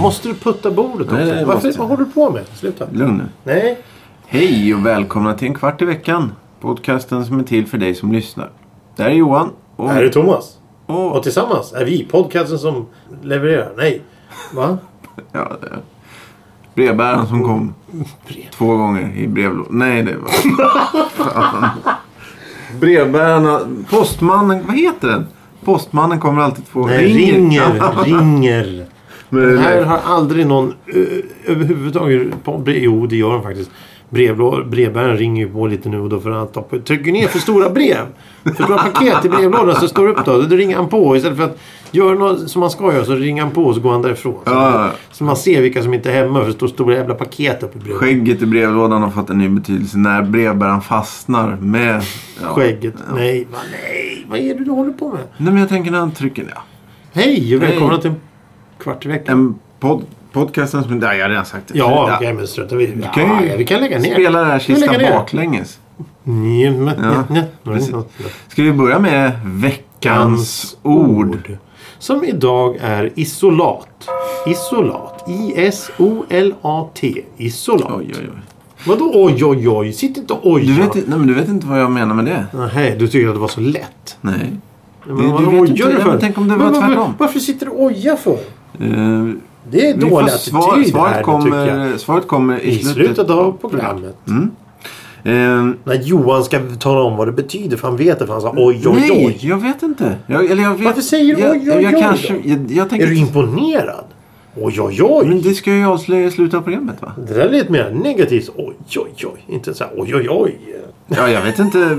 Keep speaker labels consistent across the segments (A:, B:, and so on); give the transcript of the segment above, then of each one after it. A: Måste du putta bordet också?
B: Nej, det måste
A: Varför,
B: jag.
A: vad håller du på med? Sluta.
B: Lugn nu.
A: Nej.
B: Hej och välkomna till en kvart i veckan. Podcasten som är till för dig som lyssnar. Där är Johan. Och,
A: Här är Thomas.
B: och,
A: Och tillsammans är vi podcasten som levererar. Nej. Va?
B: ja, det är brevbäraren som kom två gånger i brevlådan. Nej, det var... Fan. Brevbärarna... Postmannen... Vad heter den? Postmannen kommer alltid två
A: Nej, ringer. ringer.
B: Men,
A: Här har aldrig någon ö, överhuvudtaget... på- bre- Jo, det gör de faktiskt. Brevlå- Brevbäraren ringer ju på lite nu och då för att han toppa- trycker ner för stora brev. För stora paket i brevlådan så står det upp då. Då ringer han på. Istället för att göra något som man ska göra så ringer han på och så går han därifrån. Så,
B: Ja.
A: så man ser vilka som inte är hemma för det står stora jävla paket uppe i brevlådan.
B: Skägget i brevlådan har fått en ny betydelse när brevbäraren fastnar med... Ja.
A: Skägget. Nej, va, nej, vad är det du håller på med?
B: Nej, men jag tänker när han trycker... Ja.
A: Hej och
B: Hej.
A: välkomna till Kvart i veckan.
B: En pod, podcasten som... Nej, jag har redan sagt det.
A: Ja, okej, men strunta vi. Ja,
B: kan ju
A: ja, vi kan lägga ner.
B: Spela den här
A: Vi lägger
B: kistan
A: ner.
B: baklänges.
A: Nej, men-
B: Ja,
A: nej, nej,
B: precis.
A: nej.
B: Ska vi börja med veckans ord?
A: Som idag är isolat. Isolat. I-S-O-L-A-T. Isolat.
B: Oj, oj, oj.
A: Vadå oj, oj, oj? Sitt inte och oj.
B: Du vet, nej, men du vet inte vad jag menar med det?
A: Nej, du tycker att det var så lätt.
B: Nej.
A: Men
B: Du-
A: vad
B: du vet
A: ojar
B: inte.
A: du
B: Ja,
A: för?
B: men tänk om det var
A: Men varför-
B: tvärtom.
A: Varför sitter du och ojar för?
B: Eh,
A: Det är
B: vi får
A: dålig
B: svar,
A: attityd
B: svaret,
A: här, tycker jag.
B: kommer, svaret kommer i
A: I
B: slutet,
A: slutet av programmet.
B: Eh,
A: När Johan ska tala om vad det betyder för han vet det för han sa oj, oj,
B: nej,
A: oj.
B: jag vet inte. Jag, eller jag vet,
A: Varför säger du
B: jag,
A: oj, oj,
B: jag
A: oj
B: kanske,
A: då?
B: jag, jag tänker,
A: Är du imponerad? Oj, oj, oj.
B: Men det ska jag ju avslöja i slutet av programmet va?
A: Det där lät mer negativt. Oj, oj, oj. Inte så här oj, oj, oj.
B: Ja, jag vet inte.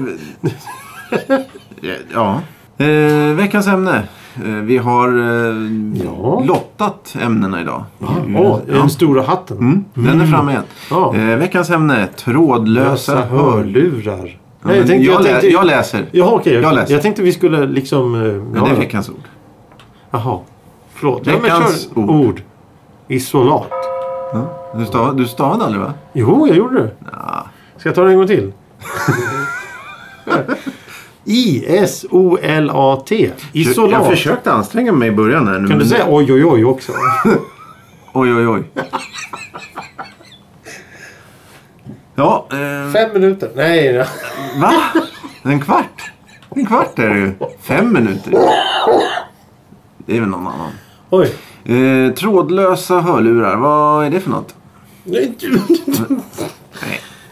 B: ja. Eh, veckans ämne. Eh, vi har eh,
A: Ja.
B: lottat ämnena idag.
A: Åh, den stora hatten.
B: Mm, Den är framme igen.
A: Ja.
B: Eh, veckans ämne. Trådlösa
A: Lösa
B: hörlurar.
A: hörlurar.
B: Ja, men jag, lä- jag läser.
A: Jaha, okej.
B: Jag
A: jag,
B: läser.
A: jag tänkte vi skulle liksom... eh,
B: Men det
A: ja,
B: är veckans ord.
A: Jaha. Förlåt.
B: Veckans
A: ja, men
B: ord.
A: kör. ord. Isolat.
B: Du, stav, du stavade aldrig va?
A: Jo, jag gjorde det. Ska jag ta det en gång till? I-S-O-L-A-T. Isolat.
B: Jag försökte anstränga mig i början här nu.
A: Kan du
B: men-
A: säga oj, oj, oj också?
B: Oj, oj, oj. ja, eh,
A: Fem minuter. Nej, nej.
B: va? En kvart? En kvart är det ju. Fem minuter. Det är väl någon annan.
A: Oj.
B: Eh, trådlösa hörlurar, vad är det för något? Nej.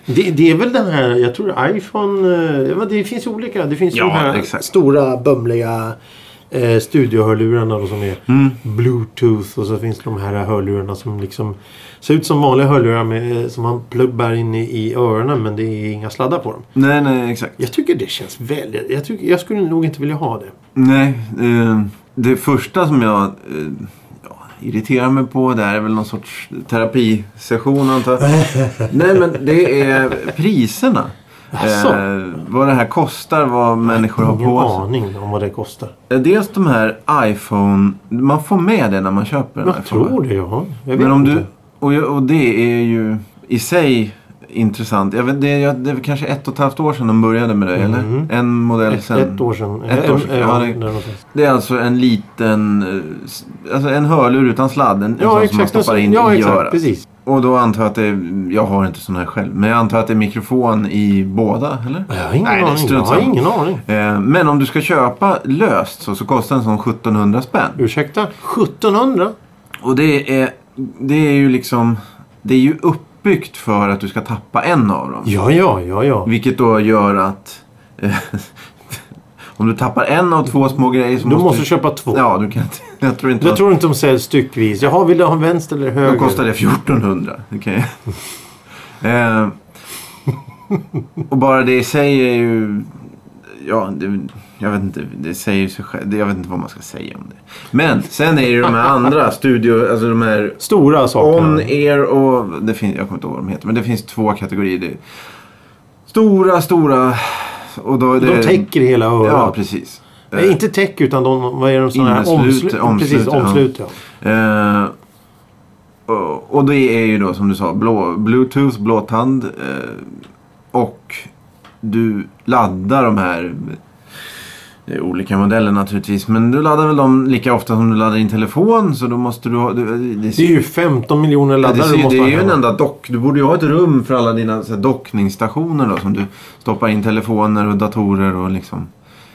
A: Det, det är väl den här, jag tror iPhone, eh, men det finns ju olika. Det finns ju
B: Ja,
A: de här
B: exakt.
A: stora bömliga eh, studiohörlurarna då, som är
B: Mm.
A: Bluetooth och så finns de här hörlurarna som liksom ser ut som vanliga hörlurar med, eh, som man pluggar in i, i öronen men det är inga sladdar på dem.
B: Nej, nej, exakt.
A: Jag tycker det känns väldigt, jag, tycker, jag skulle nog inte vilja ha det.
B: Nej, eh, det första som jag eh, ja, irriterar mig på det här är väl någon sorts terapisession antar jag. Nej, men det är priserna. Eh,
A: Jaså?
B: vad det här kostar, vad människor har
A: Ingen
B: på sig.
A: aning om vad det kostar.
B: Eh, Dels de här iPhone... Man får med det när man köper en
A: Jag
B: iPhone. va?
A: tror det, ja. Jag vet
B: Men om
A: inte.
B: du, och, jag- och det är ju i sig intressant. Jag vet, det, jag, det är kanske ett och ett halvt år sedan de började med det, eller? En modell
A: Mhm. Ett,
B: sen.
A: ett år sedan.
B: Ett år sedan, ja,
A: Ja,
B: det-
A: där någonstans.
B: Det är alltså en liten... eh, s- Alltså en hörlur utan sladd. En, en
A: ja
B: sån som man
A: exakt.
B: stoppar in
A: ja,
B: i
A: exakt.
B: örat.
A: Precis.
B: Och då antar jag att det är... Jag har inte sån här själv. Men jag antar att det är mikrofon i båda, eller?
A: Jag har ingen
B: Nej, det är
A: aning. Jag
B: strunt
A: har
B: samma.
A: ingen aning.
B: Eh, Men om du ska köpa löst så, så kostar en sån 1700 spänn.
A: Ursäkta? 1700?
B: Och det är, det är ju liksom... Det är ju uppbyggt för att du ska tappa en av dem.
A: Ja, ja, ja, ja.
B: Vilket då gör att... eh, om du tappar en av två små grejer så
A: Du måste köpa två.
B: Ja, du kan inte... Jag tror inte...
A: Jag tror inte de säljs styckvis. Jaha, vill du ha vänster eller höger?
B: Då kostar det 1400. Okay. eh, och bara det i sig är ju... Ja, det, jag vet inte. Det säger ju sig själv. det- Jag vet inte vad man ska säga om det. Men sen är det ju de här andra studio... Alltså de här
A: Stora saker.
B: on-air och... Det finns, jag kommer inte ihåg vad de heter. Men det finns två kategorier. Det är stora, stora... Och då är det,
A: De täcker hela örat.
B: Ja, precis.
A: Nej, inte täck utan de, vad är de sådana här?
B: Inneslut,
A: Omslu- Precis,
B: omslut, ja.
A: omslut ja.
B: Eh, och, och det är ju då som du sa blå, Bluetooth, blåtand eh, och du laddar de här det är olika modeller naturligtvis men du laddar väl dem lika ofta som du laddar din telefon så då måste du ha... Du, det,
A: Det är ju 15 miljoner
B: Ja, det,
A: laddare
B: ser-
A: du måste
B: det
A: ha
B: är ju en
A: hemma.
B: enda dock. Du borde ju ha ett rum för alla dina så här, dockningsstationer då, som du stoppar in telefoner och datorer och liksom.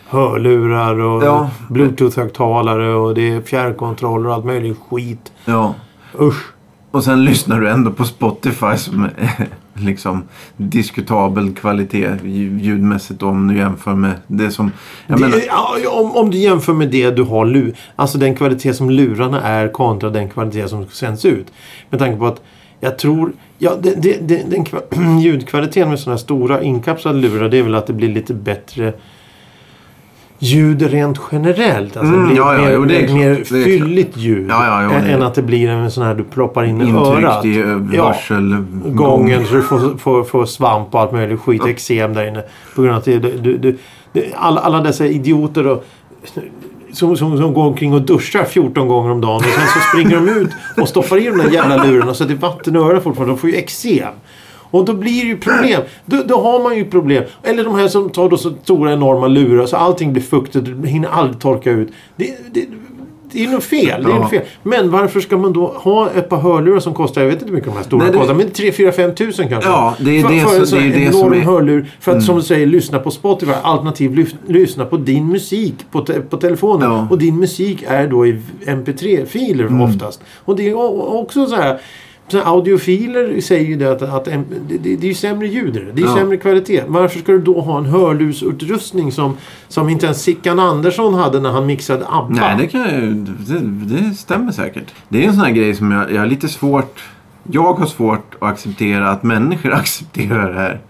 A: Hörlurar och
B: Ja.
A: bluetooth-högtalare och det är fjärrkontroller och allt möjligt skit.
B: Ja.
A: Usch.
B: Och sen lyssnar du ändå på Spotify som är liksom diskutabel kvalitet ljud- ljudmässigt då, om du jämför med det som... Jag
A: Det,
B: menar,
A: ja, om, om du jämför med det du har nu. Alltså den kvalitet som lurarna är kontra den kvalitet som sänds ut. Med tanke på att jag tror... Ja, det, det, det, den kva- ljudkvaliteten med sådana här stora inkapslade lurar det är väl att det blir lite bättre ljud rent generellt. Alltså
B: Mm,
A: det blir
B: ja, ja,
A: mer,
B: jo, det är
A: mer,
B: klart. Det är klart.
A: fylligt ljud.
B: Ja, ja, jo,
A: än,
B: det-
A: än att det blir en sån här du ploppar in i örat.
B: intryckt i
A: Ja,
B: hörselgången.
A: Mm. gången så du får, får, får svamp och allt möjligt skit, eksem där inne. På grund av att det, du, du, det- alla, alla dessa idioter och, som, som, som går omkring och duschar 14 gånger om dagen och sen så springer de ut och stoppar i de där jävla lurarna så att det är vatten i öronen fortfarande. De får ju eksem. Och då blir det ju problem. Då, då har man ju problem. Eller de här som tar då så stora enorma lurar så allting blir fuktigt och det hinner aldrig torka ut. Det, det, det är nog fel. Det är
B: Ja.
A: nog fel. Men varför ska man då ha ett par hörlurar som kostar, jag vet inte hur mycket de här stora
B: Nej, det-
A: kostar, men 3 4 5 tusen kanske?
B: Ja, det är
A: för,
B: det
A: för
B: som-
A: en sån
B: det är
A: här
B: det
A: enorm
B: som är- Mm.
A: hörlur. För att som du säger, lyssna på Spotify. Alternativt lyf- lyssna på din musik på, te- på telefonen.
B: Ja. Mm.
A: Och din musik är då i mp3-filer oftast. Och det är o- också så här. så här Audiofiler säger ju det att, att em- det, det, det är ju sämre ljud i det. Det är ju
B: Ja.
A: sämre kvalitet. Varför ska du då ha en hörlursutrustning som, som inte ens Sickan Andersson hade när han mixade ABBA?
B: Nej, det, kan ju, det, det stämmer säkert. Det är en sån här grej som jag, jag har lite svårt... Jag har svårt att acceptera att människor accepterar det här.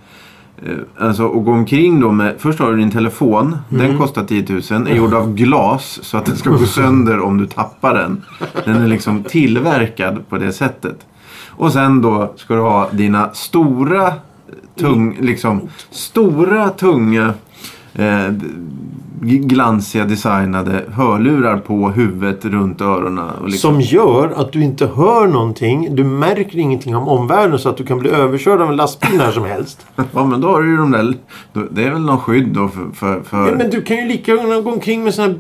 B: Eh, Alltså att gå omkring då med... Först har du din telefon.
A: Mm.
B: Den kostar 10 000. Är gjord av glas så att den ska gå sönder om du tappar den. Den är liksom tillverkad på det sättet. Och sen då ska du ha dina stora, tung, liksom, stora tunga eh, g- glansiga designade hörlurar på huvudet runt öronen. Och liksom,
A: Som gör att du inte hör någonting. Du märker ingenting om omvärlden så att du kan bli överkörd av en lastbil när som helst.
B: ja men då har du ju de där, då- det är väl någon skydd då för... för, för
A: Ja, men du kan ju lika gärna gå omkring med såna här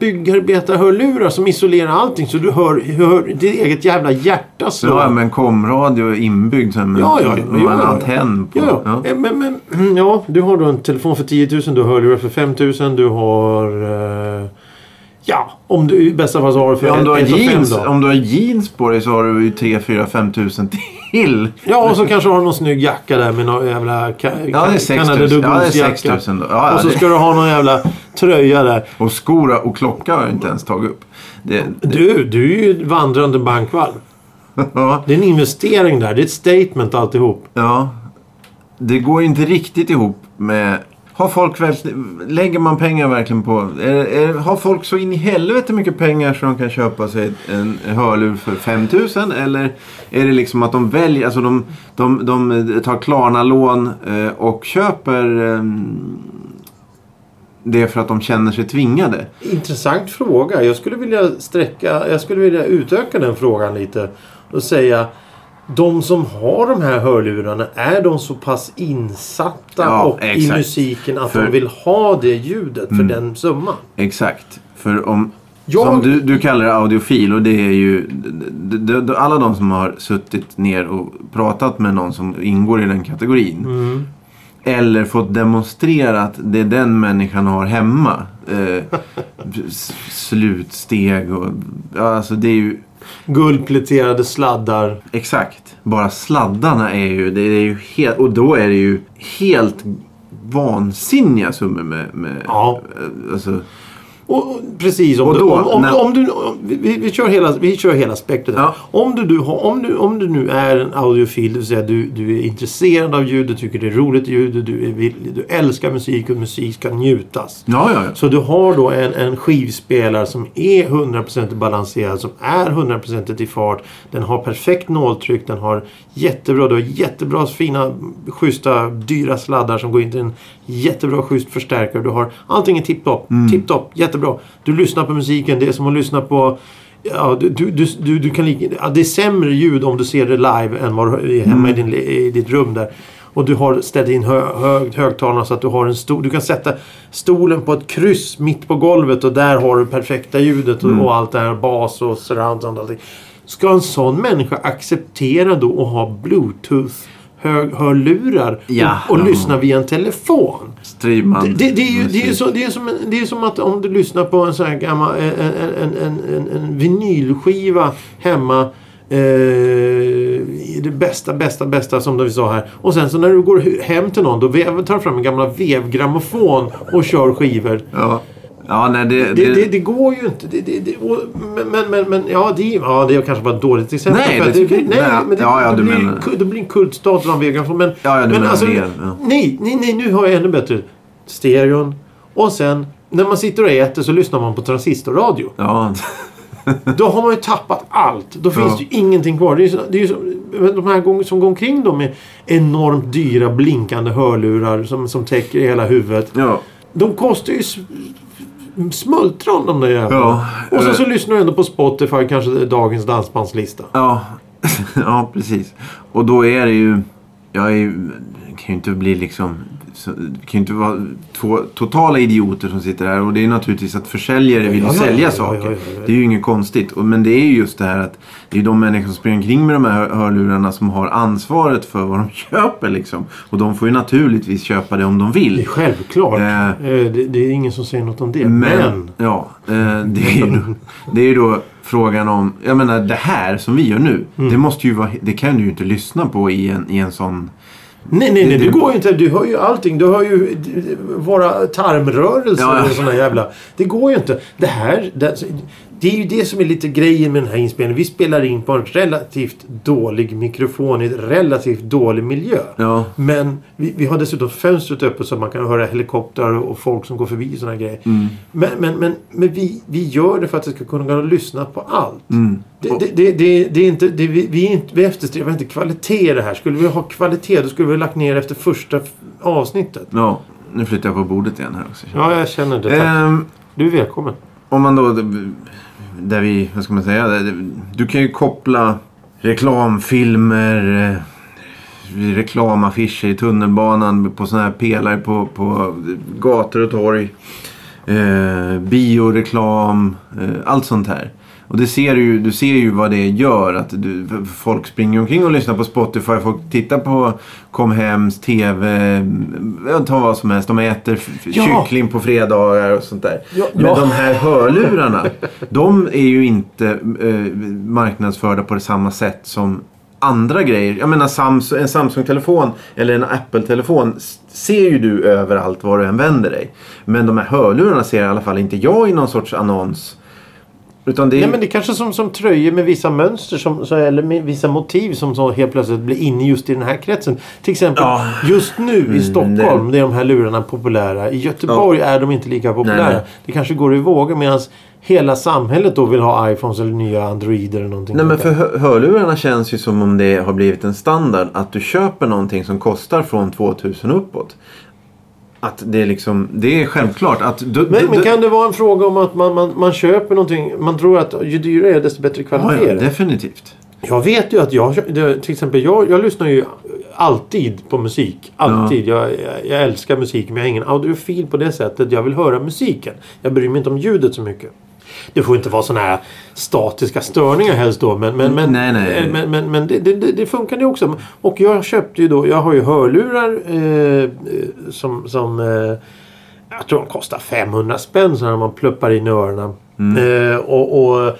A: byggarbetarhörlurar som isolerar allting så du hör, hör ditt eget jävla hjärta slå.
B: Ja, men komradio är inbyggd sen med,
A: Ja, ja, ja,
B: med
A: ja,
B: en
A: ja.
B: antenn på.
A: Ja, ja. Eh, Men, men, ja, du har då en telefon för 10 000, du har hörlurar för 5 000, du har... Eh, ja, om du i bästa fall så har du för
B: Ja, om, du har
A: 1 500.
B: jeans, om du har jeans på dig så har du ju 3, 4, 5 tusen till.
A: Ja, och så kanske du har någon snygg jacka där med någon jävla ka-
B: Ja, det är 6 000. Ja, det är 6 000 då. Ja, ja,
A: Och så
B: det-
A: ska du ha någon jävla tröja där.
B: Och skor och klocka har jag inte ens tagit upp. Det,
A: Du, du är ju ett vandrande bankvalv.
B: ja,
A: Det är en investering där. Det är ett statement alltihop.
B: ja. det går ju inte riktigt ihop med... Har folk verkligen, lägger man pengar verkligen på... Är, är, har folk så in i helvete mycket pengar så de kan köpa sig en hörlur för 5 000? Eller är det liksom att de väljer... Alltså de, de, de tar Klarna-lån eh, och köper eh, det för att de känner sig tvingade?
A: Intressant fråga. Jag skulle vilja sträcka, jag skulle vilja utöka den frågan lite och säga de som har de här hörlurarna, är de så pass insatta
B: Ja,
A: och i
B: exakt.
A: musiken att
B: För- Mm.
A: de vill ha det ljudet för den summan?
B: Exakt. För om...
A: Jag-
B: Som du, du kallar det audiofil och det är ju... d- d- d- Alla de som har suttit ner och pratat med någon som ingår i den kategorin.
A: Mm.
B: Eller fått demonstrerat det den människan har hemma. Eh, s- slutsteg och... Ja, alltså det är ju...
A: Guldpläterade sladdar.
B: Exakt. Bara sladdarna är ju... Det är ju helt, och då är det ju helt vansinniga summor med... med
A: Ja.
B: eh, Alltså,
A: Och, och, precis, om,
B: Och
A: du,
B: då,
A: om, om,
B: när-
A: om du... Om, vi- vi, vi, kör hela, vi kör hela spektrat. här.
B: Ja.
A: Om, du, du, har- om, du, om du nu är en audiofil, det vill säga du, du är intresserad av ljud, du tycker det är roligt ljud, du, du, är vill- du älskar musik och musik ska njutas.
B: ja, ja, ja.
A: Så du har då en, en skivspelare som är 100% balanserad, som är 100% i fart. Den har perfekt nåltryck, den har jättebra, du har jättebra fina, schyssta, dyra sladdar som går in till en Jättebra schysst förstärkare. Du har allting är tipptopp. Tipptopp, jättebra. Du lyssnar på musiken. Det är som att lyssna på... Ja, du, du, du, du, du kan, lika- ja, det är sämre ljud om du ser det live än vad du är hemma i, din, i ditt rum där. Och du har ställt in hö, hög, högtalarna så att du har en stol. Du kan sätta stolen på ett kryss mitt på golvet och där har du perfekta ljudet och, och allt det här. Bas och surround och allting. Ska en sån människa acceptera då att ha bluetooth hög, hörlurar
B: Ja.
A: och, och lyssna via en telefon?
B: Streamad
A: Det, det, det, är ju, det, är ju
B: musik.
A: så, det, är som, en- det är som att om du lyssnar på en sån här gammal en, en, en, en- en, en vinylskiva hemma. Eh, i det bästa, bästa, bästa som vi sa här. Och sen så när du går hu- hem till någon då vev, tar du fram en gamla vevgrammofon och kör skivor.
B: Ja. ja, nej det...
A: Det, det, det går ju inte. Det, det, det, och, men, men, men, men ja, det, ja, det kanske var ett dåligt exempel.
B: Nej,
A: för
B: det
A: att
B: tycker
A: blir-
B: jag inte.
A: nej,
B: Nej,
A: men det,
B: ja, ja,
A: det,
B: du
A: blir,
B: menar-
A: ku- det blir en kultstatus av vegan. Men,
B: Ja, ja, du
A: men alltså,
B: menar mer, ja.
A: nej, nej, nej, nu har jag ännu bättre. Stereon. Och sen när man sitter och äter så lyssnar man på transistorradio.
B: Ja.
A: Då har man ju tappat allt. Då finns
B: Ja.
A: det ju ingenting kvar. Det är ju, så- det är ju så, men de här gång, som går omkring då med enormt dyra blinkande hörlurar som, som täcker hela huvudet.
B: ja.
A: De kostar ju s- smultron de där jävlarna.
B: Ja. Eh,
A: Och sen så lyssnar du ändå på Spotify, kanske dagens dansbandslista.
B: Ja, ja precis. Och då är det ju... Jag är ju, kan ju inte bli liksom... så- Det kan ju inte vara två totala idioter som sitter här. Och det är naturligtvis att försäljare vill ju
A: Ja, ja,
B: sälja
A: ja, ja,
B: saker.
A: ja, ja, ja.
B: Det är ju inget konstigt. Och, men det är ju just det här att det är de människor som springer omkring med de här hör- hörlurarna som har ansvaret för vad de köper liksom. Och de får ju naturligtvis köpa det om de
A: Det är
B: vill.
A: självklart.
B: Eh.
A: Eh, Det, det är ingen som säger något om det. Men,
B: Men, ja, eh, det är ju då, det är ju då frågan om, jag menar det här som vi gör nu,
A: Mm.
B: det måste ju vara, det kan du ju inte lyssna på i en, i en sån
A: nej, nej, nej.
B: det-
A: Det går ju inte. Du hör ju allting. Du hör ju d- d- våra tarmrörelser
B: Ja, ja.
A: och såna jävla... Det går ju inte. Det här... Det, det är ju det som är lite grejen med den här inspelningen. Vi spelar in på en relativt dålig mikrofon i en relativt dålig miljö.
B: Ja.
A: Men vi, vi har dessutom fönstret öppet så man kan höra helikoptrar och folk som går förbi och såna grejer. Men, men, men, men vi, vi gör det för att det ska kunna lyssna på allt.
B: Mm.
A: Det, det, det, det, det är inte, det, vi, vi, är inte, vi eftersträvar inte kvalitet i det här. Skulle vi ha kvalitet då skulle vi ha lagt ner efter första f- avsnittet.
B: Ja, nu flyttar jag på bordet igen här också.
A: Ja, jag känner det. Tack.
B: Ehm,
A: Du är välkommen.
B: om man då... Där vi, vad ska man säga? Där, du kan ju koppla reklamfilmer, eh, reklamaffischer i tunnelbanan, på sådana här pelare på, på gator och torg. Eh, bioreklam, eh, allt sånt här. Och det ser du, ju- du ser ju vad det gör. Att du, folk springer omkring och lyssnar på Spotify. Folk tittar på Kom Hems TV. eh, Ta vad som helst. De äter f- f-
A: Ja.
B: kyckling på fredagar och sånt där.
A: Ja,
B: Men
A: ja.
B: de här hörlurarna, de är ju inte eh, marknadsförda på det samma sätt som andra grejer. Jag menar Samsung, en Samsung-telefon eller en Apple-telefon s- ser ju du överallt var du än vänder dig. Men de här hörlurarna ser i alla fall inte jag i någon sorts annons. Utan det är...
A: Nej, men det är kanske som, som tröjor med vissa mönster som, så, eller med vissa motiv som så helt plötsligt blir inne just i den här kretsen. Till exempel
B: Ja.
A: just nu
B: Mm,
A: i Stockholm det är de här lurarna populära. I Göteborg är de inte lika populära.
B: Nej, nej.
A: Det kanske går i vågor medan hela samhället då vill ha iPhones eller nya Androider eller någonting.
B: Nej men
A: sånt
B: för
A: där.
B: hö- hörlurarna känns ju som om det har blivit en standard att du köper någonting som kostar från 2000 uppåt. Att det är liksom, det är självklart att... Du, du-
A: Men, men
B: du-
A: kan det vara en fråga om att man, man, man köper någonting. Man tror att ju dyrare det är desto bättre
B: ja,
A: kvalitet är
B: ja,
A: det.
B: definitivt.
A: Jag vet ju att jag, det- till exempel jag, jag lyssnar ju alltid på musik. Alltid. Jag, jag, jag älskar musik men jag är ingen audiofil på det sättet. Jag vill höra musiken. Jag bryr mig inte om ljudet så mycket. Det får inte vara sådana här statiska störningar helst då. Men, men, men,
B: Nej, nej.
A: men, men, men, det, det, det det funkar det också. Och jag köpte ju då, jag har ju hörlurar eh, eh, som, som eh, jag tror de kostar 500 spänn så när man pluppar in i öronen.
B: Mm.
A: Eh, och, och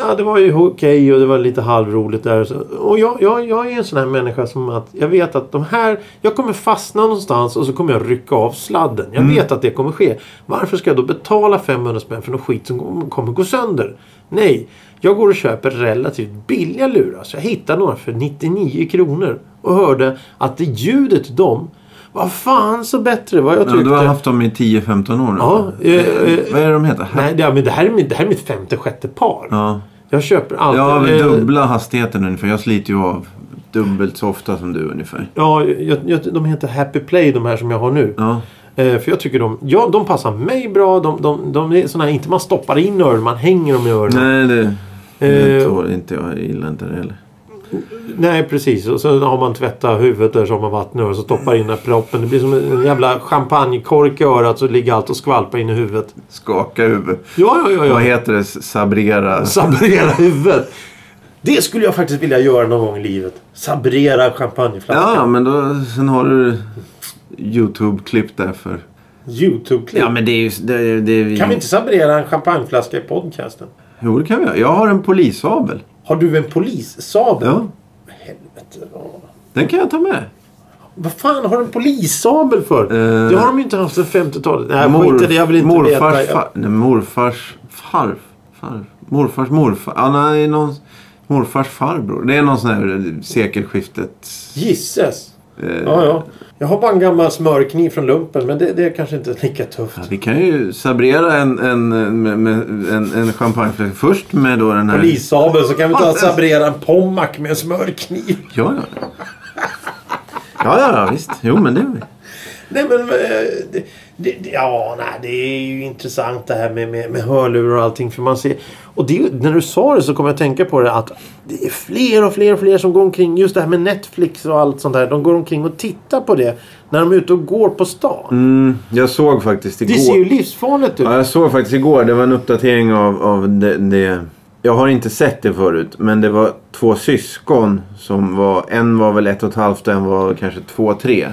A: Ja, det var ju okej och det var lite halvroligt där. och så. Och jag, jag, jag är en sån här människa som att jag vet att de här... Jag kommer fastna någonstans och så kommer jag rycka av sladden. Jag
B: Mm.
A: vet att det kommer ske. Varför ska jag då betala 500 spänn för något skit som kom- kommer gå sönder? Nej, jag går och köper relativt billiga lurar. Så jag hittade några för 99 kronor och hörde att det ljudet till dem var fan så bättre vad jag
B: Ja,
A: tyckte.
B: du har haft dem i 10-15 år nu.
A: Ja,
B: Eh,
A: eh, eh,
B: Vad är de heter?
A: Nej, det, ja, men det, här är mitt, det här är mitt femte, sjätte par.
B: Ja.
A: Jag köper alltid...
B: Jag har
A: eh,
B: dubbla hastigheten ungefär. Jag sliter ju av dubbelt så ofta som du ungefär.
A: Ja, jag, jag, de heter Happy Play de här som jag har nu.
B: Ja,
A: Eh, för jag tycker de, ja, de passar mig bra. De, de, de är såna här, inte man stoppar in öron, man hänger dem i öronen.
B: nej det, det
A: Eh,
B: tål inte jag. Jag gillar inte det heller.
A: nej, precis. Och så har man tvättat huvudet där som har vatten i öronen, så stoppar in den här proppen. Det blir som en jävla champagnekork i örat så ligger allt och skvalpar in i huvudet.
B: Skaka huvudet.
A: Ja, ja, ja. ja.
B: Vad heter det? Sabrera?
A: Sabrera huvudet. Det skulle jag faktiskt vilja göra någon gång i livet. Sabrera champagneflaskan.
B: Ja, men då, sen har du YouTube-klipp där för...
A: Youtube-klipp.
B: Ja, men det är ju... Det, är- det är vi...
A: Kan vi inte sabrera en champagneflaska i podcasten?
B: Jo, det kan vi göra. Jag har en polisabel.
A: Har du en polissabel?
B: Ja,
A: Helvete. ja.
B: den kan jag ta med.
A: Vad fan har du en polissabel för?
B: Eh.
A: det har de ju inte haft sedan 50-talet. Nej, skit i det. Jag vill inte
B: morfars,
A: veta.
B: Far, nej, morfars farf. Farf. Morfars morfar. Ja, nej, någon, morfars farbror. Det är någon sån här eh, sekelskiftet...
A: Gisses.
B: Eh,
A: Ja, ja. Jag har bara en gammal smörkniv från lumpen, men det, det är kanske inte lika tufft.
B: Vi kan ju sabrera en, en, med, med, en, en champagneflaska först med då den här...
A: Polissabel, så kan vi
B: Alltså.
A: ta och sabrera en pommack med en smörkniv.
B: Ja, ja. Ja, ja, ja, visst. Jo, men det är vi.
A: Nej men... eh, Det, det, det- ja, nej, det är ju intressant det här med, med, med hörlurar och allting. För man ser, och det, när du sa det så kom jag att tänka på det att det är fler och fler och fler som går omkring. Just det här med Netflix och allt sånt där. De går omkring och tittar på det när de är ute och går på stan.
B: Mm, jag såg faktiskt igår...
A: Det ser ju livsfarligt ut.
B: Ja, jag såg faktiskt igår. Det var en uppdatering av, av det, det. Jag har inte sett det förut. Men det var två syskon som var... En var väl ett och ett halvt och en var kanske två, tre.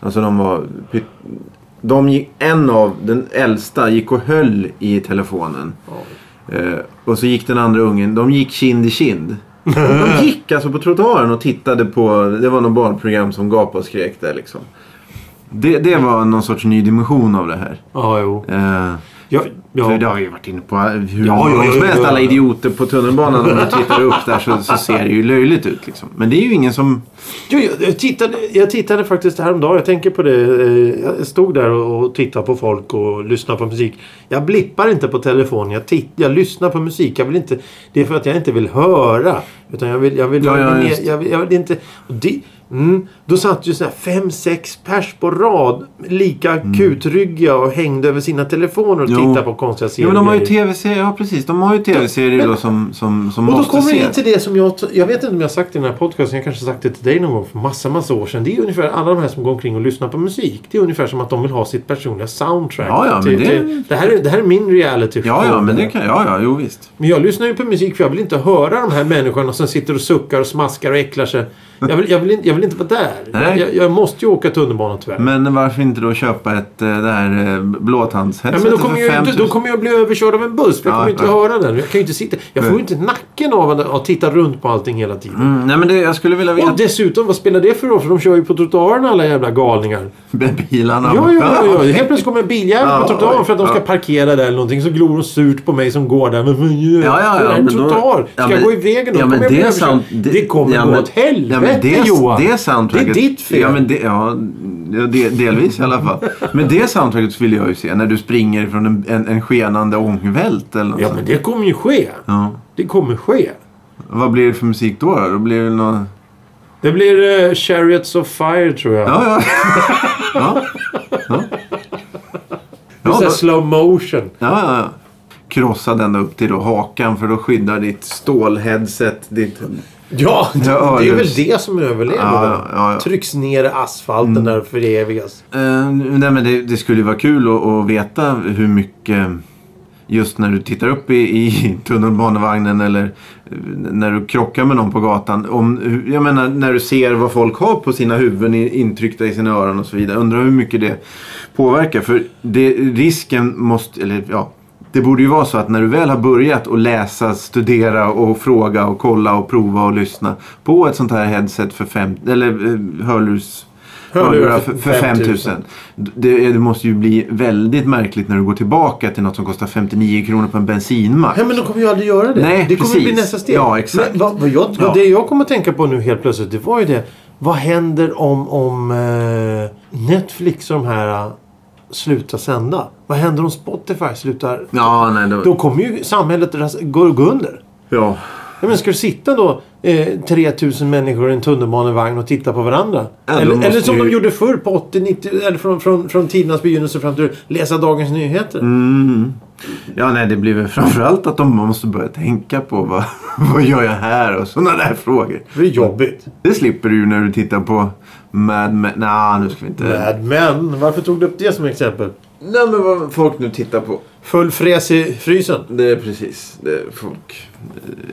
B: Alltså de var... pyt- De gick, en av, den äldsta, gick och höll i telefonen. Eh, och så gick den andra ungen, de gick kind i kind. De gick alltså på trottoaren och tittade på, det var något barnprogram som gapade och skrek där liksom. Det, det var någon sorts ny dimension av det här.
A: Ja, jo.
B: Eh,
A: Ja,
B: För det
A: ja.
B: har vi ju varit inne på hur
A: Ja,
B: många
A: ja,
B: gånger som
A: ja,
B: helst.
A: ja.
B: Alla idioter på tunnelbanan. Om du tittar upp där så, så ser det ju löjligt ut. Liksom. Men det är ju ingen som...
A: Jo, jo, jag, tittade, jag tittade faktiskt häromdagen. Jag tänker på det. eh, Jag stod där och och tittade på folk och lyssnade på musik. Jag blippar inte på telefonen. Jag, titt, jag lyssnar på musik. Jag vill inte, det är för att jag inte vill höra. Utan jag vill, jag vill,
B: Ja, ja,
A: jag vill-
B: just.
A: jag vill, jag vill inte... Och det, mm, då satt ju sådär fem, sex pers på rad. Lika kutryggiga och hängde över sina telefoner och
B: Mm. Jo.
A: tittade på konstiga serier.
B: Ja, men de har ju tv-serier. Ja, precis. De har ju tv-serier då som, som, som
A: Och då
B: måste
A: kommer vi in
B: ses.
A: till det som jag... Jag vet inte om jag har sagt det i den här podcasten. Jag kanske har sagt det till dig någon gång för massa, massa år sedan. Det är ungefär alla de här som går omkring och lyssnar på musik. Det är ungefär som att de vill ha sitt personliga soundtrack.
B: Ja, ja, men
A: till,
B: det-
A: Till, det, här är, det här är min reality
B: Ja,
A: show.
B: ja, men det kan... Ja, ja, jo visst.
A: Men jag lyssnar ju på musik för jag vill inte höra de här människorna som sitter och suckar och smaskar och äcklar sig. Jag vill, jag vill, inte- jag vill inte vara där.
B: Nej.
A: Jag, jag måste ju åka tunnelbana tyvärr.
B: Men varför inte då köpa ett eh, det här eh,
A: Ja,
B: blåtandsheadsetet
A: men då, kommer jag, ju-
B: för
A: då
B: 5
A: kommer jag bli överkörd av en buss. För jag
B: Ja,
A: kommer ju inte
B: ja.
A: höra den. Jag, kan ju inte sitta. jag får ju inte nacken av att, att titta runt på allting hela tiden.
B: Mm, nej, men det, jag skulle vilja
A: Och
B: veta...
A: dessutom, vad spelar det för roll? För de kör ju på trottoaren alla jävla galningar.
B: Med bilarna.
A: Ja, ja, ja. ja. Helt plötsligt kommer en biljävel
B: Ja,
A: på trottoaren
B: oj,
A: för att de ska
B: ja.
A: parkera där eller någonting. Så glor de surt på mig som går där. Men vad gör
B: Ja, ja, ja,
A: Det är en
B: men då-
A: trottoar.
B: ja,
A: Ska jag
B: men-
A: gå i vägen då?
B: ja,
A: kommer
B: men
A: jag bli
B: det, är
A: överkörd.
B: sant,
A: det kommer
B: ja,
A: gå
B: men-
A: åt helvete
B: ja, men det,
A: Johan.
B: Det soundtracket.
A: Det är ditt fel.
B: Ja, men det, ja, ja, det, delvis i alla fall. Men det soundtracket vill jag ju se. När du springer från en, en, en skenande ångvält eller något
A: Ja,
B: sånt.
A: men det kommer ju ske.
B: ja.
A: Det kommer ske.
B: Vad blir det för musik då? Då, då blir det väl någon...
A: Det blir eh, Chariots of Fire tror jag.
B: Ja, ja. ja. ja.
A: det är så här
B: då-
A: slow motion.
B: Ja, ja, ja. Krossa den upp till då hakan för då skyddar ditt stålheadset ditt...
A: Ja, det,
B: Ja,
A: det är
B: det-
A: väl det som överlever.
B: Ja, ja, ja, ja.
A: Trycks ner i asfalten där för evigas.
B: Eh, nej, men det, det skulle ju vara kul att, att veta hur mycket... Just när du tittar upp i, i tunnelbanevagnen eller eh, när du krockar med någon på gatan. Om, jag menar när du ser vad folk har på sina huvuden i- intryckta i sina öron och så vidare. Undrar hur mycket det påverkar. För det, risken måste... Eller ja. Det borde ju vara så att när du väl har börjat att läsa, studera och fråga och kolla och prova och lyssna på ett sånt här headset för fem... Eller eh, hörlurs... Hörlurar för, för 5 000. Det, är- det måste ju bli väldigt märkligt när du går tillbaka till något som kostar 59 kronor på en bensinmack.
A: Nej men de kommer ju aldrig göra det.
B: Nej,
A: det kommer
B: precis.
A: bli nästa steg.
B: Ja, exakt.
A: Men vad, vad jag,
B: Ja.
A: Det jag kommer att tänka på nu helt plötsligt det var ju det. Vad händer om, om eh, Netflix och de här eh, slutar sända? Vad händer om Spotify slutar?
B: Ja, nej. Då,
A: Då kommer ju samhället ras- gå gå under.
B: ja.
A: Ja, men ska du sitta då eh, 3000 människor i en tunnelbanevagn och titta på varandra?
B: Ja, då
A: eller,
B: måste
A: eller som
B: ju-
A: de gjorde förr på 80, 90 eller från, från, från tidernas begynnelse fram till läsa Dagens Nyheter.
B: Mm. Ja, nej, det blir väl framförallt att de måste börja tänka på vad, vad gör jag här och sådana där frågor.
A: Det är jobbigt.
B: Det slipper du ju när du tittar på Mad Men. Nej, nu ska vi inte...
A: Mad Men. Varför tog du upp det som exempel?
B: Nej, men vad folk nu tittar på.
A: Full fräs i frysen.
B: Det är precis. Det är folk.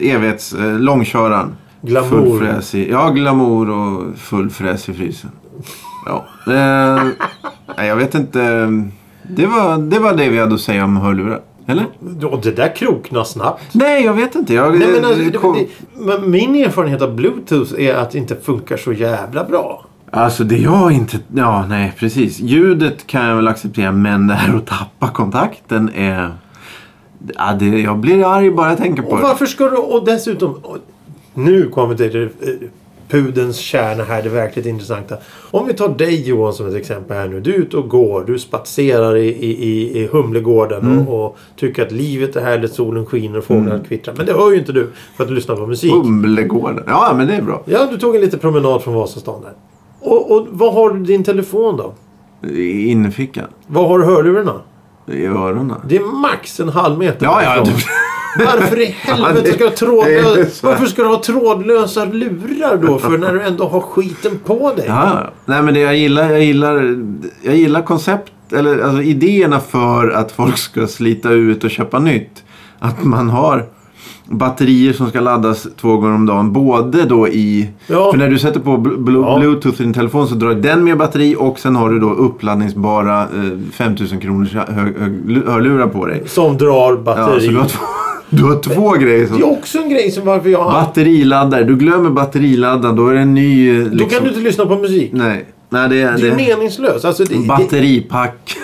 B: eh, Evighets... Eh, långköraren.
A: Glamour.
B: Full fräs i... Ja, glamour och full fräs i frysen. Ja. Eh, nej, jag vet inte. eh, Det var, det var det vi hade att säga om hörlurar. Eller?
A: Och det där kroknar snabbt.
B: Nej, jag vet inte. Jag, eh,
A: Nej, men, alltså,
B: kom-
A: det, det, men min erfarenhet av Bluetooth är att det inte funkar så jävla bra.
B: Alltså det jag inte... Ja, nej precis. Ljudet kan jag väl acceptera men det här att tappa kontakten är... Ja, det, jag blir arg bara jag tänker på
A: Och
B: det.
A: varför ska du... Och dessutom... Och, nu kommer det till eh, pudelns kärna här, det verkligt intressanta. Om vi tar dig Johan som ett exempel här nu. Du är ute och går, du spatserar i, i, i, i Humlegården och, och tycker att livet är härligt, solen skiner och fåglarna kvittrar. Men det hör ju inte du för att du lyssnar på musik.
B: Humlegården. Ja, men det är bra.
A: Ja, du tog en liten promenad från Vasastan där. Och, och vad har du i din telefon då?
B: I innerfickan.
A: Vad har du i hörlurarna?
B: I öronen.
A: Det är max en halv meter
B: Ja, ja.
A: därifrån. Varför i
B: Ja, det-
A: helvete ska du ha
B: det är så
A: trådlösa,
B: här.
A: varför ska du ha trådlösa lurar då? För när du ändå har skiten på dig.
B: Ja, ja. nej men det jag gillar, jag gillar, jag gillar koncept, eller alltså idéerna för att folk ska slita ut och köpa nytt. Att man har batterier som ska laddas två gånger om dagen. Både då i...
A: Ja.
B: För när du sätter på bl- bl-
A: Ja.
B: bluetooth i din telefon så drar den mer batteri och sen har du då uppladdningsbara eh, 5000 kronors hö- hö- hörlurar på dig.
A: Som drar
B: Ja, så
A: batteri.
B: du har två, du har två grejer.
A: Det
B: Som,
A: är också en grej som varför jag...
B: batteriladdare. Du glömmer batteriladdaren. Då är det en ny... eh,
A: Då
B: Liksom,
A: kan du inte lyssna på musik.
B: Nej. Nej, det,
A: Det är ju meningslöst. Alltså det, det,
B: Batteripack.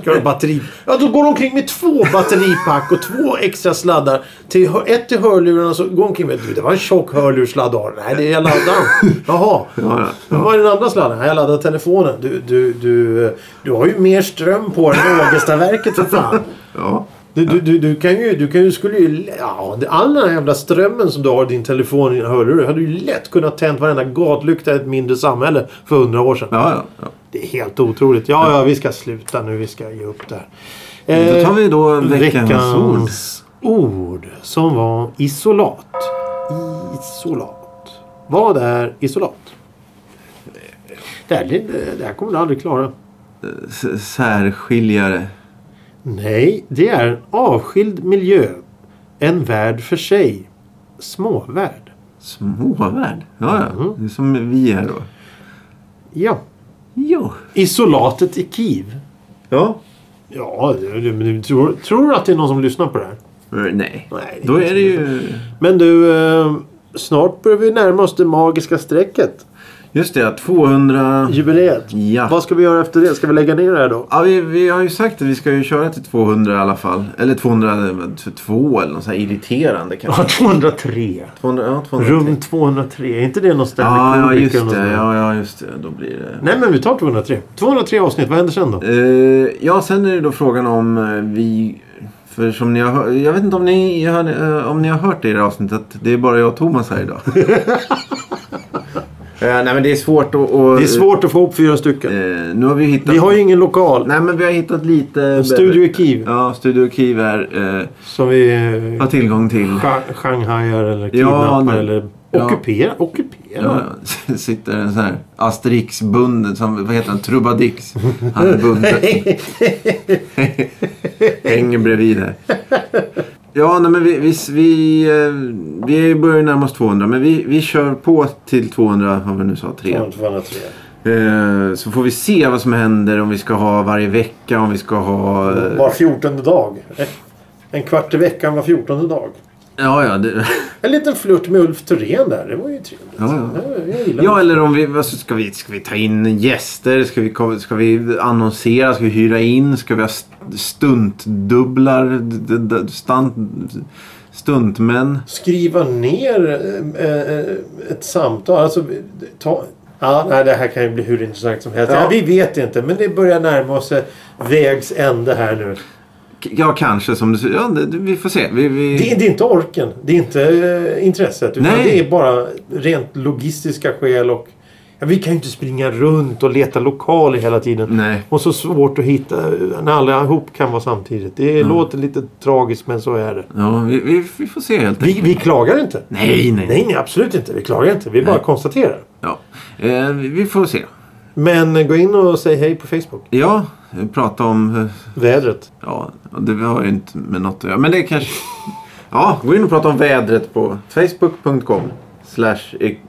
A: ska du ha batteri... Ja, då går de omkring med två batteripack och två extra sladdar. Till, hör- ett till hörlurarna så går de omkring med... Du, det var en tjock hörlurssladd du har. Nej, det är jag laddaren. Jaha.
B: Ja,
A: Men Vad är den andra sladden? Ja, Jag laddar telefonen. Du, du, du, eh, du har ju mer ström på den än Ågestaverket för fan.
B: ja.
A: Du, du, du, du kan ju... Du kan ju, skulle ju ja, det- all den här jävla strömmen som du har i din telefon i dina hörlurar hade ju lätt kunnat tänt varenda gatlykta i ett mindre samhälle för hundra år sedan.
B: Ja, ja, ja.
A: Det är helt otroligt. Ja, ja, vi ska sluta nu. Vi ska ge upp det här.
B: Då
A: Eh,
B: tar vi då veckans, ord.
A: ord som var isolat. Isolat. Vad är isolat? Det här, det här kommer du aldrig klara.
B: S- Särskiljare.
A: Nej, det är en avskild miljö. En värld för sig. Småvärld.
B: Småvärld. Ja, ja. Det är som vi är då.
A: Ja.
B: Jo.
A: Isolatet i Kiev.
B: Ja.
A: Ja, det- det- men du tror, tror du att det är någon som lyssnar på det här?
B: Eh, Nej.
A: Nej,
B: Då är det ju...
A: Men du, eh, snart börjar vi närma oss det magiska strecket.
B: Just det, 200...
A: Jubileet.
B: Ja.
A: Vad ska vi göra efter det? Ska vi lägga ner det här då?
B: Ja, vi, vi har ju sagt att vi ska ju köra till 200 i alla fall. Eller eh, 202 eller något så här irriterande kanske.
A: 203.
B: 200, ja, 203.
A: Rum 203. Är inte det någon Stanley
B: Ja, ja,
A: Kubrick
B: just
A: eller något sånt
B: det.
A: där?
B: Ja, ja, just det. Då blir det...
A: Nej, men vi tar 203. 203 avsnitt. Vad händer sen då?
B: Eh, ja, sen är det då frågan om eh, vi... För som ni har hört, jag vet inte om ni, har, eh, om ni har hört det i det här avsnittet. att Det är bara jag och Thomas här idag. Eh, nej men det är svårt att... att-
A: Det är svårt att få ihop fyra stycken.
B: Eh, nu har vi hittat...
A: Vi har ju ingen lokal.
B: Nej men vi har hittat lite...
A: Studio i Kiev.
B: Ja, Studio Kiev är... Eh,
A: Som vi
B: har tillgång till.
A: eh, shanghajar eller kidnappar
B: nej.
A: eller
B: Ja.
A: ockuperar.
B: Ja,
A: Ockuperar?
B: ja. sitter en sån här Asterix-bunden som, vad heter han, Trubadix. Han är bunden. Hänger bredvid här. Ja, nej, men vi, vi, vi, eh, vi börjar ju närma oss 200. Men vi, vi kör på till 200, vad vi nu sa, 3.
A: 203.
B: Eh, så får vi se vad som händer. Om vi ska ha varje vecka, om vi ska ha... eh,
A: Var fjortonde dag. Eh, En kvart i veckan var fjortonde dag.
B: Ja, ja. Det,
A: En liten flört med Ulf Thorén där. Det var ju trevligt.
B: Ja, ja.
A: Jag gillar
B: ja, eller om vi, vad ska vi... Ska vi ta in gäster? Ska vi, kom- ska vi annonsera? Ska vi hyra in? Ska vi ha st- stuntdubblar? D- d- d- Stunt, stuntmän?
A: skriva ner eh, eh, ett samtal. Alltså, ta, ja, nej, det här kan ju bli hur intressant som helst.
B: Ja.
A: Ja. vi vet inte, men det börjar närma oss eh, vägs ände här nu.
B: K- Ja, kanske som du säger. Ja, det, det- vi får se. Vi, vi...
A: Det, är- det är inte orken. Det är inte eh, intresset. Utan
B: Nej.
A: det är bara rent logistiska skäl och... Ja, vi kan ju inte springa runt och leta lokaler hela tiden.
B: Nej.
A: Och så svårt att hitta eh, när alla ihop kan vara samtidigt. Det
B: Mm.
A: låter lite tragiskt men så är det.
B: Ja, vi, vi, vi får se helt enkelt.
A: Vi, vi klagar inte.
B: Nej, nej.
A: Nej, nej, absolut inte. Vi klagar inte. Vi bara konstaterar.
B: Ja. Eh, vi- vi får se.
A: Men eh, gå in och säg hej på Facebook.
B: Ja, eh, prata om... eh,
A: Vädret.
B: Ja, och det har ju inte med något att göra. Men det är kanske... Ja, gå in och prata om vädret på facebook.com. Slash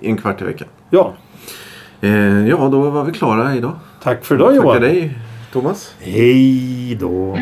B: en kvart i veckan.
A: Ja.
B: Eh, ja, då var vi klara idag.
A: Tack för idag Johan.
B: Tackar dig, Thomas.
A: Hej då.